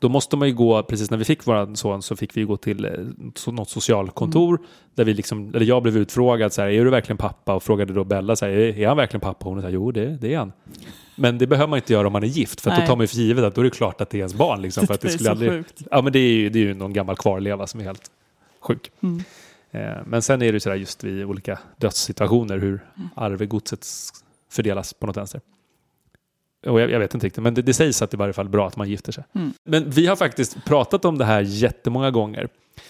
Speaker 1: då måste man ju gå, precis när vi fick vår son så fick vi ju gå till eh, so- något socialkontor
Speaker 2: Mm.
Speaker 1: där vi liksom, eller jag blev utfrågad så här, är du verkligen pappa? Och frågade då Bella så här, är är han verkligen pappa? Och hon sa, jo det, det är han. Men det behöver man inte göra om man är gift, för att då
Speaker 2: Nej.
Speaker 1: tar man ju för givet att då är det klart att det är ens barn. Liksom, för att det
Speaker 2: Det är
Speaker 1: skulle
Speaker 2: så
Speaker 1: aldrig...
Speaker 2: sjukt.
Speaker 1: Ja men det är ju, det är ju någon gammal kvarleva som är helt sjuk.
Speaker 2: Mm.
Speaker 1: Eh, men sen är det ju sådär just vid olika dödssituationer hur arvegodset s- fördelas på något vänster. Och jag, jag vet inte riktigt, men det, det sägs att det i varje fall är bra att man gifter sig. Men vi har faktiskt pratat om det här jättemånga gånger.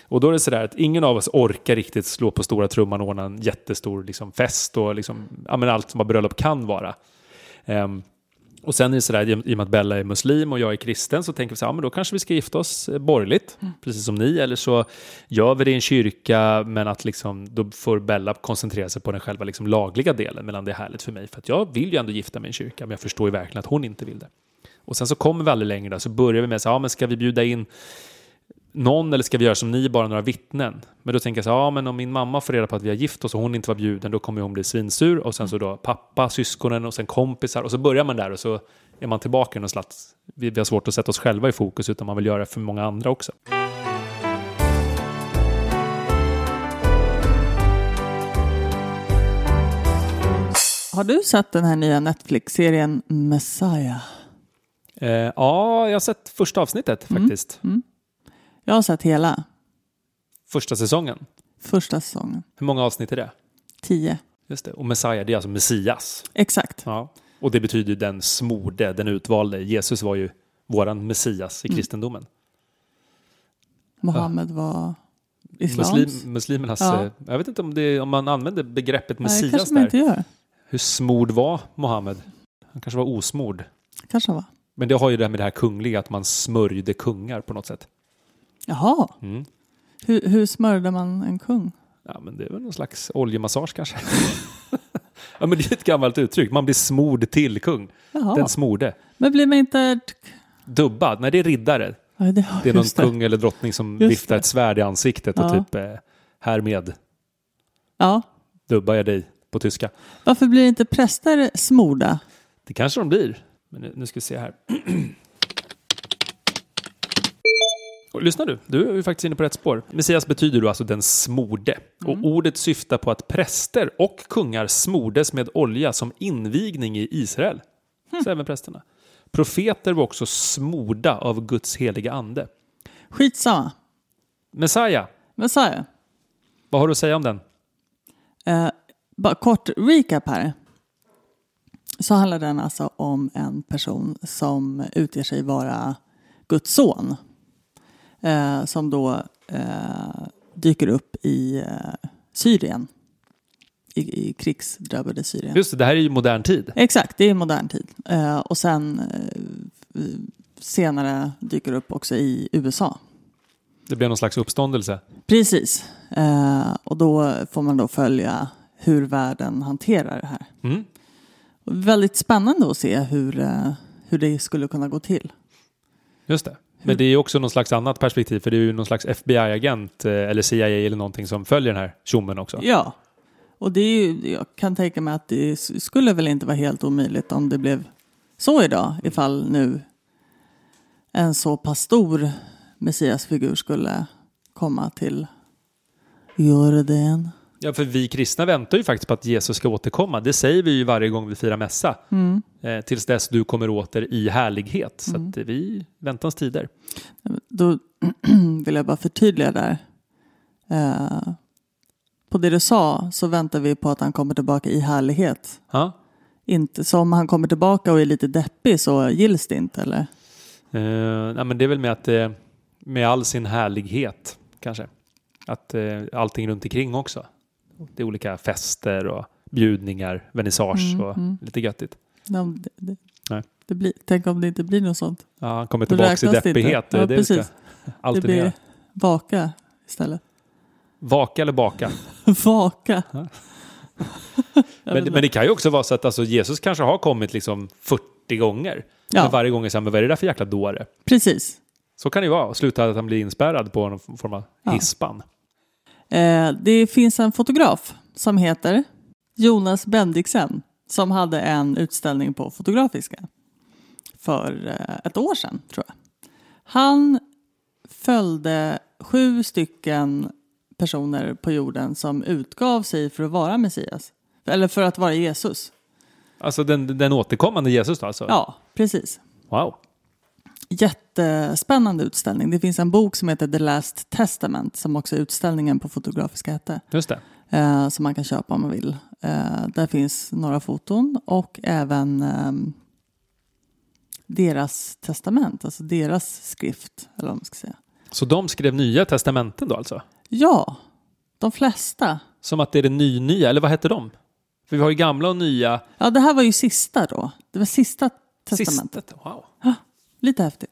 Speaker 1: Och då är det sådär att ingen av oss orkar riktigt slå på stora trumman och ordna en jättestor liksom, fest och liksom, ja, men allt som vad bröllop kan vara. Ehm, och sen är det sådär, i i och med att Bella är muslim och jag är kristen så tänker vi så här, ja, men då kanske vi ska gifta oss eh, borgerligt, precis som ni, eller så gör vi det i en kyrka, men att liksom, då får Bella koncentrera sig på den själva liksom lagliga delen, medan det är härligt för mig, för att jag vill ju ändå gifta mig i en kyrka, men jag förstår ju verkligen att hon inte vill det. Och sen så kommer vi aldrig längre där, så börjar vi med så här, ja, men ska vi bjuda in någon eller ska vi göra som ni, bara några vittnen? Men då tänker jag så här, ja men om min mamma får reda på att vi har gift oss och hon inte var bjuden, då kommer hon bli svinsur. Och sen så då pappa, syskonen och sen kompisar. Och så börjar man där och så är man tillbaka i någon slags, vi, vi har svårt att sätta oss själva i fokus utan man vill göra det för många andra också.
Speaker 2: Har du sett den här nya Netflix-serien Messiah?
Speaker 1: Eh, ja, jag har sett första avsnittet
Speaker 2: Mm.
Speaker 1: faktiskt.
Speaker 2: Jag har sett hela
Speaker 1: Första säsongen.
Speaker 2: första säsongen.
Speaker 1: Hur många avsnitt är det?
Speaker 2: Tio.
Speaker 1: Just det. Och Messiah, det är alltså Messias.
Speaker 2: Exakt.
Speaker 1: Ja. Och det betyder ju den smorde, den utvalde. Jesus var ju våran Messias i
Speaker 2: Mm.
Speaker 1: kristendomen.
Speaker 2: Mohammed var islams.
Speaker 1: Muslim, muslimernas,
Speaker 2: Ja.
Speaker 1: eh, jag vet inte om, det, om man använder begreppet
Speaker 2: Nej, det
Speaker 1: Messias
Speaker 2: kanske man
Speaker 1: där.
Speaker 2: inte gör.
Speaker 1: Hur smord var Mohammed? Han kanske var osmord.
Speaker 2: Kanske han var.
Speaker 1: Men det har ju det här med det här kungliga, att man smörjde kungar på något sätt.
Speaker 2: Jaha,
Speaker 1: Mm.
Speaker 2: hur, hur smörjde man en kung?
Speaker 1: Ja, men det är väl någon slags oljemassage kanske. <laughs> ja, men det är ett gammalt uttryck. Man blir smord till kung.
Speaker 2: Jaha.
Speaker 1: Den smorde.
Speaker 2: Men blir man inte...
Speaker 1: Dubbad? Nej, det är riddare.
Speaker 2: Ja, det,
Speaker 1: Det är någon
Speaker 2: just
Speaker 1: kung eller drottning som
Speaker 2: Just
Speaker 1: viftar
Speaker 2: det.
Speaker 1: ett svärd i ansiktet och
Speaker 2: Ja.
Speaker 1: typ eh, härmed
Speaker 2: Ja.
Speaker 1: dubbar jag dig på tyska.
Speaker 2: Varför blir inte präster smorda?
Speaker 1: Det kanske de blir. Men nu, nu ska vi se här. <clears throat> Och lyssna du, du är ju faktiskt inne på rätt spår. Mm. Messias betyder då alltså den smorde. Och ordet syftar på att präster och kungar smordes med olja som invigning i Israel. Så även prästerna. Profeter var också smorda av Guds heliga ande.
Speaker 2: Skitsamma.
Speaker 1: Messiah,
Speaker 2: Vad sa jag?
Speaker 1: vad har du att säga om den?
Speaker 2: Eh, bara kort recap här. Så handlar den alltså om en person som utger sig vara Guds son. Eh, som då eh, dyker upp i eh, Syrien. I, I krigsdrabbade Syrien.
Speaker 1: Just det, det här är ju modern tid.
Speaker 2: Exakt, det är modern tid. Eh, och sen eh, senare dyker upp också i USA.
Speaker 1: Det blev någon slags uppståndelse.
Speaker 2: Precis. Eh, och då får man då följa hur världen hanterar det här.
Speaker 1: Mm.
Speaker 2: Och väldigt spännande att se hur, eh, hur det skulle kunna gå till.
Speaker 1: Just det. Men det är ju också någon slags annat perspektiv för det är ju någon slags FBI-agent eh, eller CIA eller någonting som följer den här tjommen också.
Speaker 2: Ja. Och det är ju, jag kan tänka mig att det s- skulle väl inte vara helt omöjligt om det blev så idag. Ifall nu en så pass stor messiasfigur skulle komma till Jordan.
Speaker 1: Ja, för vi kristna väntar ju faktiskt på att Jesus ska återkomma. Det säger vi ju varje gång vi firar mässa. Eh, tills dess du kommer åter i härlighet. Så att eh, vi väntans tider.
Speaker 2: Då <clears throat> vill jag bara förtydliga där. Eh, på det du sa så väntar vi på att han kommer tillbaka i härlighet.
Speaker 1: Ja.
Speaker 2: Inte som han kommer tillbaka och är lite deppig så gills det inte eller?
Speaker 1: Eh, nej, men det är väl med att eh, med all sin härlighet kanske. Att eh, allting runt omkring också. Det är olika fester och bjudningar, vernissage och lite göttigt.
Speaker 2: De, det, det,
Speaker 1: Nej.
Speaker 2: Det blir, tänk om det inte blir något sånt.
Speaker 1: Ja, han kommer
Speaker 2: Då
Speaker 1: tillbaka i
Speaker 2: räknas det inte.
Speaker 1: deppighet. Det är
Speaker 2: Ja,
Speaker 1: det vi ska
Speaker 2: precis. Det
Speaker 1: alternera.
Speaker 2: blir vaka istället. <laughs>
Speaker 1: Vaka eller baka.
Speaker 2: Vaka. Jag
Speaker 1: Men,
Speaker 2: vet
Speaker 1: men
Speaker 2: inte.
Speaker 1: det kan ju också vara så att alltså, Jesus kanske har kommit liksom 40 gånger.
Speaker 2: Ja.
Speaker 1: Men varje gång är det så här, men vad är det där för jäkla dåre?
Speaker 2: Precis.
Speaker 1: Så kan det ju vara. Och sluta att han blir inspärrad på någon form av
Speaker 2: Ja.
Speaker 1: hispan.
Speaker 2: Eh, det finns en fotograf som heter Jonas Bendiksen som hade en utställning på Fotografiska för eh, ett år sedan tror jag. Han följde sju stycken personer på jorden som utgav sig för att vara Messias. Eller för att vara Jesus.
Speaker 1: Alltså den, den återkommande Jesus då alltså?
Speaker 2: Ja, precis.
Speaker 1: Wow.
Speaker 2: Jättespännande utställning. Det finns en bok som heter The Last Testament som också utställningen på Fotografiska hette.
Speaker 1: Just det.
Speaker 2: Eh, som man kan köpa om man vill. Eh, där finns några foton och även ehm, deras testament, alltså deras skrift. Eller vad man ska säga.
Speaker 1: Så de skrev nya testamenten då alltså?
Speaker 2: Ja, de flesta.
Speaker 1: Som att det är det ny-nya, eller vad hette de? För vi har ju gamla och nya.
Speaker 2: Ja, det här var ju sista då. Det var sista testamentet.
Speaker 1: Sistet. Wow.
Speaker 2: Lite häftigt.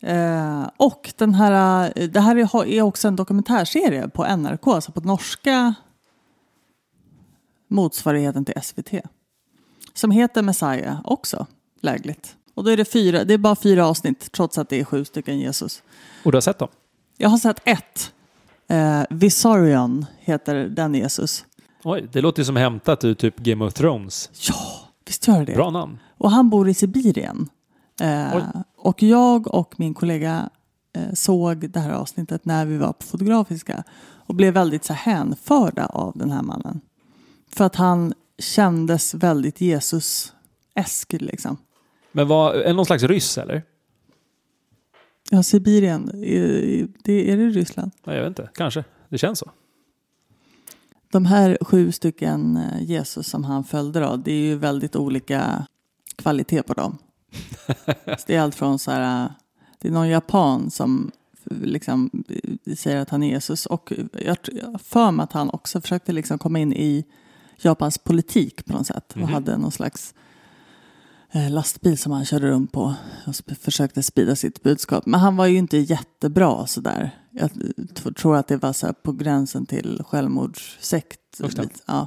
Speaker 2: Eh, och den här, eh, det här är- har- är också en dokumentärserie på NRK, alltså på norska motsvarigheten till SVT. Som heter Messiah också, lägligt. Och då är det, fyra, det är bara fyra avsnitt, trots att det är sju stycken Jesus.
Speaker 1: Och du har sett dem?
Speaker 2: Jag har sett ett. Eh, Visarion heter den Jesus.
Speaker 1: Oj, det låter ju som hämtat ur typ Game of Thrones.
Speaker 2: Ja, visst gör det det?
Speaker 1: Bra namn.
Speaker 2: Och han bor i Sibirien. Eh,
Speaker 1: Oj.
Speaker 2: och jag och min kollega eh, såg det här avsnittet när vi var på Fotografiska och blev väldigt så här, hänförda av den här mannen. För att han kändes väldigt Jesus-esk liksom.
Speaker 1: Men var, är någon slags ryss eller?
Speaker 2: Ja, Sibirien, är det, är det Ryssland?
Speaker 1: Nej, jag vet inte. Kanske. Det känns så.
Speaker 2: De här sju stycken eh, Jesus som han följde då, det är ju väldigt olika kvalitet på dem. Så det är allt från så här, äh, det är någon japan som eh, liksom eh, säger att han är Jesus och jag tr- jag har för mig att han också försökte liksom komma in i Japans politik på något sätt och hade någon slags eh, lastbil som han körde runt på och sp- försökte sprida sitt budskap. Men han var ju inte jättebra sådär. Jag t- tror att det var så här på gränsen till självmordssekt.
Speaker 1: Just det.
Speaker 2: Lite- Ja,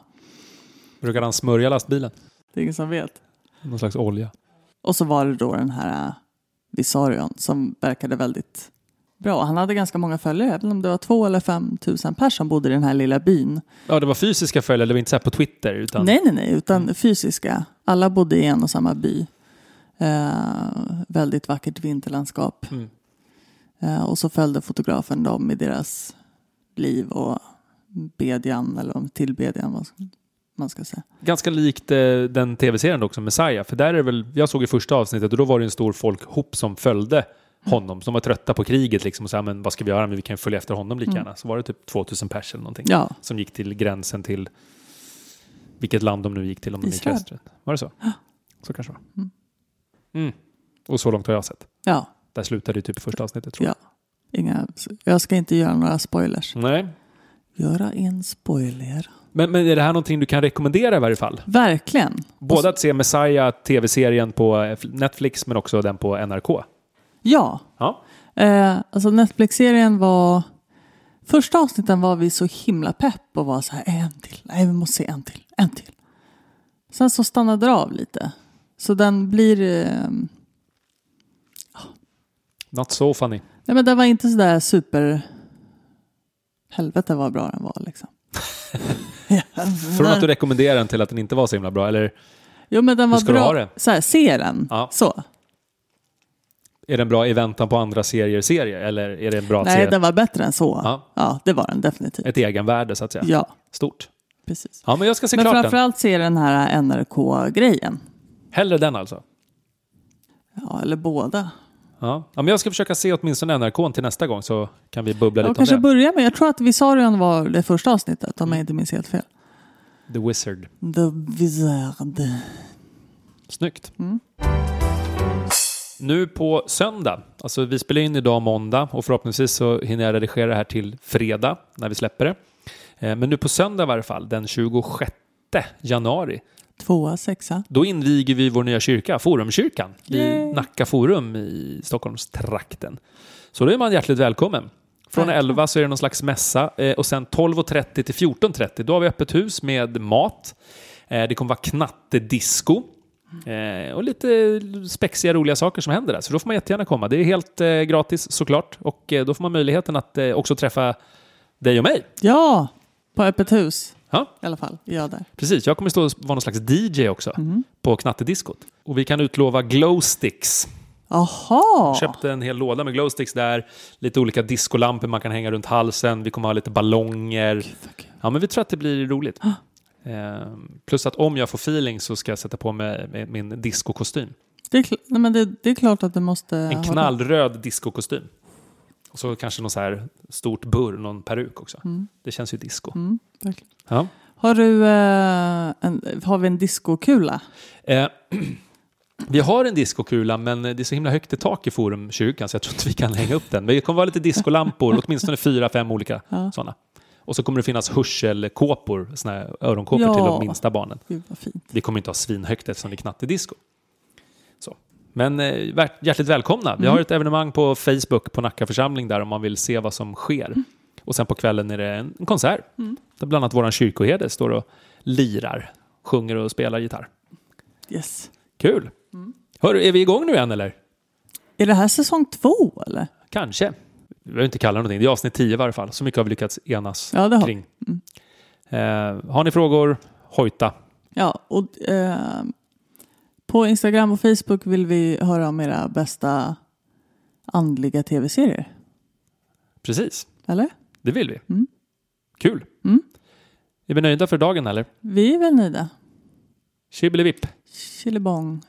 Speaker 1: Brukade han smörja lastbilen?
Speaker 2: det är ingen som vet.
Speaker 1: Någon slags olja?
Speaker 2: Och så var det då den här äh, Visarion som verkade väldigt bra. Han hade ganska många följare, även om det var två eller fem tusen pers som bodde i den här lilla byn.
Speaker 1: Ja, det var fysiska följare, det var inte så här på Twitter. Utan...
Speaker 2: Nej, nej, nej, utan
Speaker 1: Mm.
Speaker 2: fysiska. Alla bodde i en och samma by. Eh, väldigt vackert vinterlandskap.
Speaker 1: Mm.
Speaker 2: Eh, och så följde fotografen dem i deras liv och bedjan, eller om- tillbedjan, vad man ska säga.
Speaker 1: Ganska likt eh, den tv-serien också, Messiah. För där är det väl, jag såg i första avsnittet och då var det en stor folkhop som följde honom. Som var trötta på kriget liksom och sa, men vad ska vi göra? Men vi kan ju följa efter honom lika gärna. Så var det typ 2000 pers eller någonting.
Speaker 2: Mm. Ja,
Speaker 1: Som gick till gränsen till vilket land de nu gick till. Om de gick
Speaker 2: Israel.
Speaker 1: österut. Var det så? Så kanske det var. Mm. Och så långt har jag sett.
Speaker 2: ja,
Speaker 1: Där slutade ju typ första avsnittet tror
Speaker 2: Ja. inga, jag ska inte göra några spoilers.
Speaker 1: jag. Nej.
Speaker 2: Göra en spoiler.
Speaker 1: Men, men är det här någonting du kan rekommendera i varje fall?
Speaker 2: Verkligen.
Speaker 1: Både att se Messiah, tv-serien på eh, Netflix, men också den på NRK.
Speaker 2: Ja.
Speaker 1: Ja.
Speaker 2: Eh, alltså Netflix-serien var... Första avsnitten var vi så himla pepp och var så här, "Äh, en till, nej vi måste se en till, en till. Sen så stannade det av lite. Så den blir... Eh,
Speaker 1: Not so funny.
Speaker 2: nej men den var inte så där super... Helvete vad bra den var
Speaker 1: <laughs>
Speaker 2: liksom.
Speaker 1: Från att du rekommenderar den till att den inte var så himla bra, eller
Speaker 2: Jo men den var
Speaker 1: ska du
Speaker 2: bra.
Speaker 1: ha det?
Speaker 2: Så här, se den.
Speaker 1: Ja.
Speaker 2: Så.
Speaker 1: är den bra i väntan på andra serier serie eller är det bra att
Speaker 2: Nej,
Speaker 1: se
Speaker 2: den var bättre än så.
Speaker 1: Ja.
Speaker 2: ja det var den definitivt.
Speaker 1: ett egenvärde så att säga?
Speaker 2: Ja,
Speaker 1: Stort.
Speaker 2: precis.
Speaker 1: Ja, men jag ska se
Speaker 2: Men
Speaker 1: klart den.
Speaker 2: framförallt se den här NRK-grejen.
Speaker 1: Hellre den alltså.
Speaker 2: Ja, eller båda.
Speaker 1: Ja. ja, men jag ska försöka se åtminstone NRK till nästa gång så kan vi bubbla
Speaker 2: Jag
Speaker 1: lite om
Speaker 2: kanske
Speaker 1: det.
Speaker 2: börjar med, jag tror att Visarion var det första avsnittet om jag inte minns helt fel.
Speaker 1: The Wizard.
Speaker 2: The Wizard.
Speaker 1: Snyggt. Nu på söndag, alltså vi spelar in idag måndag och förhoppningsvis så hinner jag redigera det här till fredag när vi släpper det. Eh, Men nu på söndag i varje fall, den 26 januari,
Speaker 2: Tvåa, sexa.
Speaker 1: då inviger vi vår nya kyrka, Forumkyrkan,
Speaker 2: Yay.
Speaker 1: i Nacka Forum i Stockholmstrakten. Så då är man hjärtligt välkommen. Från
Speaker 2: Verkligen.
Speaker 1: 11 så är det någon slags mässa eh, och sen 12.30 till 14.30 då har vi öppet hus med mat. Eh, Det kommer vara knattedisco. Eh, och lite spexiga roliga saker som händer där. Så då får man jättegärna komma. Det är helt eh, gratis såklart. Och eh, då får man möjligheten att eh, också träffa dig och mig.
Speaker 2: Ja, på öppet hus
Speaker 1: Ja,
Speaker 2: i alla fall. Jag där.
Speaker 1: precis. Jag kommer stå och vara någon slags DJ också
Speaker 2: Mhm.
Speaker 1: på knattediskot. Och vi kan utlova glowsticks.
Speaker 2: Jaha,
Speaker 1: Köpte en hel låda med glowsticks där. Lite olika discolampor man kan hänga runt halsen. Vi kommer ha lite ballonger.
Speaker 2: kul. Ah.
Speaker 1: Ja, men vi tror att det blir roligt. Ehm, Plus att om jag får feeling så ska jag sätta på mig mig- min discokostym.
Speaker 2: det är, kl- nej, men det, det är klart att det måste...
Speaker 1: En knallröd discokostym. Och så kanske någon så här stort burr, någon peruk också. Det känns ju disco.
Speaker 2: Mm, verkligen.
Speaker 1: Ja.
Speaker 2: har, du, eh, en, har vi en diskokula?
Speaker 1: Eh, <clears throat> vi har en diskokula men det är så himla högt i tak i Forumkyrkan så jag tror inte vi kan hänga upp den. Men det kommer vara lite diskolampor, åtminstone fyra, fem olika sådana. Och så kommer det finnas hörselkåpor, såna här öronkåpor
Speaker 2: Ja.
Speaker 1: till de minsta barnen.
Speaker 2: Gud vad fint.
Speaker 1: Vi kommer inte ha svinhögt eftersom det är knattedisco. Så. Men eh, värt- hjärtligt välkomna. Vi har ett evenemang på Facebook på Nacka församling där om man vill se vad som sker. Och sen på kvällen är det en en konsert där bland annat vår kyrkoherde står och lirar, sjunger och spelar gitarr.
Speaker 2: Yes.
Speaker 1: Kul! Hörru, är vi igång nu än eller?
Speaker 2: Är det här säsong två eller?
Speaker 1: Kanske. Vi behöver inte kalla det någonting. Det är avsnitt 10 i varje fall. Så mycket har vi lyckats enas
Speaker 2: Ja, det har vi.
Speaker 1: kring. Eh, har ni frågor? Hojta.
Speaker 2: Ja, och eh, på Instagram och Facebook vill vi höra om era bästa andliga tv-serier.
Speaker 1: Precis,
Speaker 2: Eller?
Speaker 1: det vill vi. Kul! Är vi nöjda för dagen eller?
Speaker 2: Vi är väl nöjda.
Speaker 1: Shibbelivipp!
Speaker 2: Chilibong.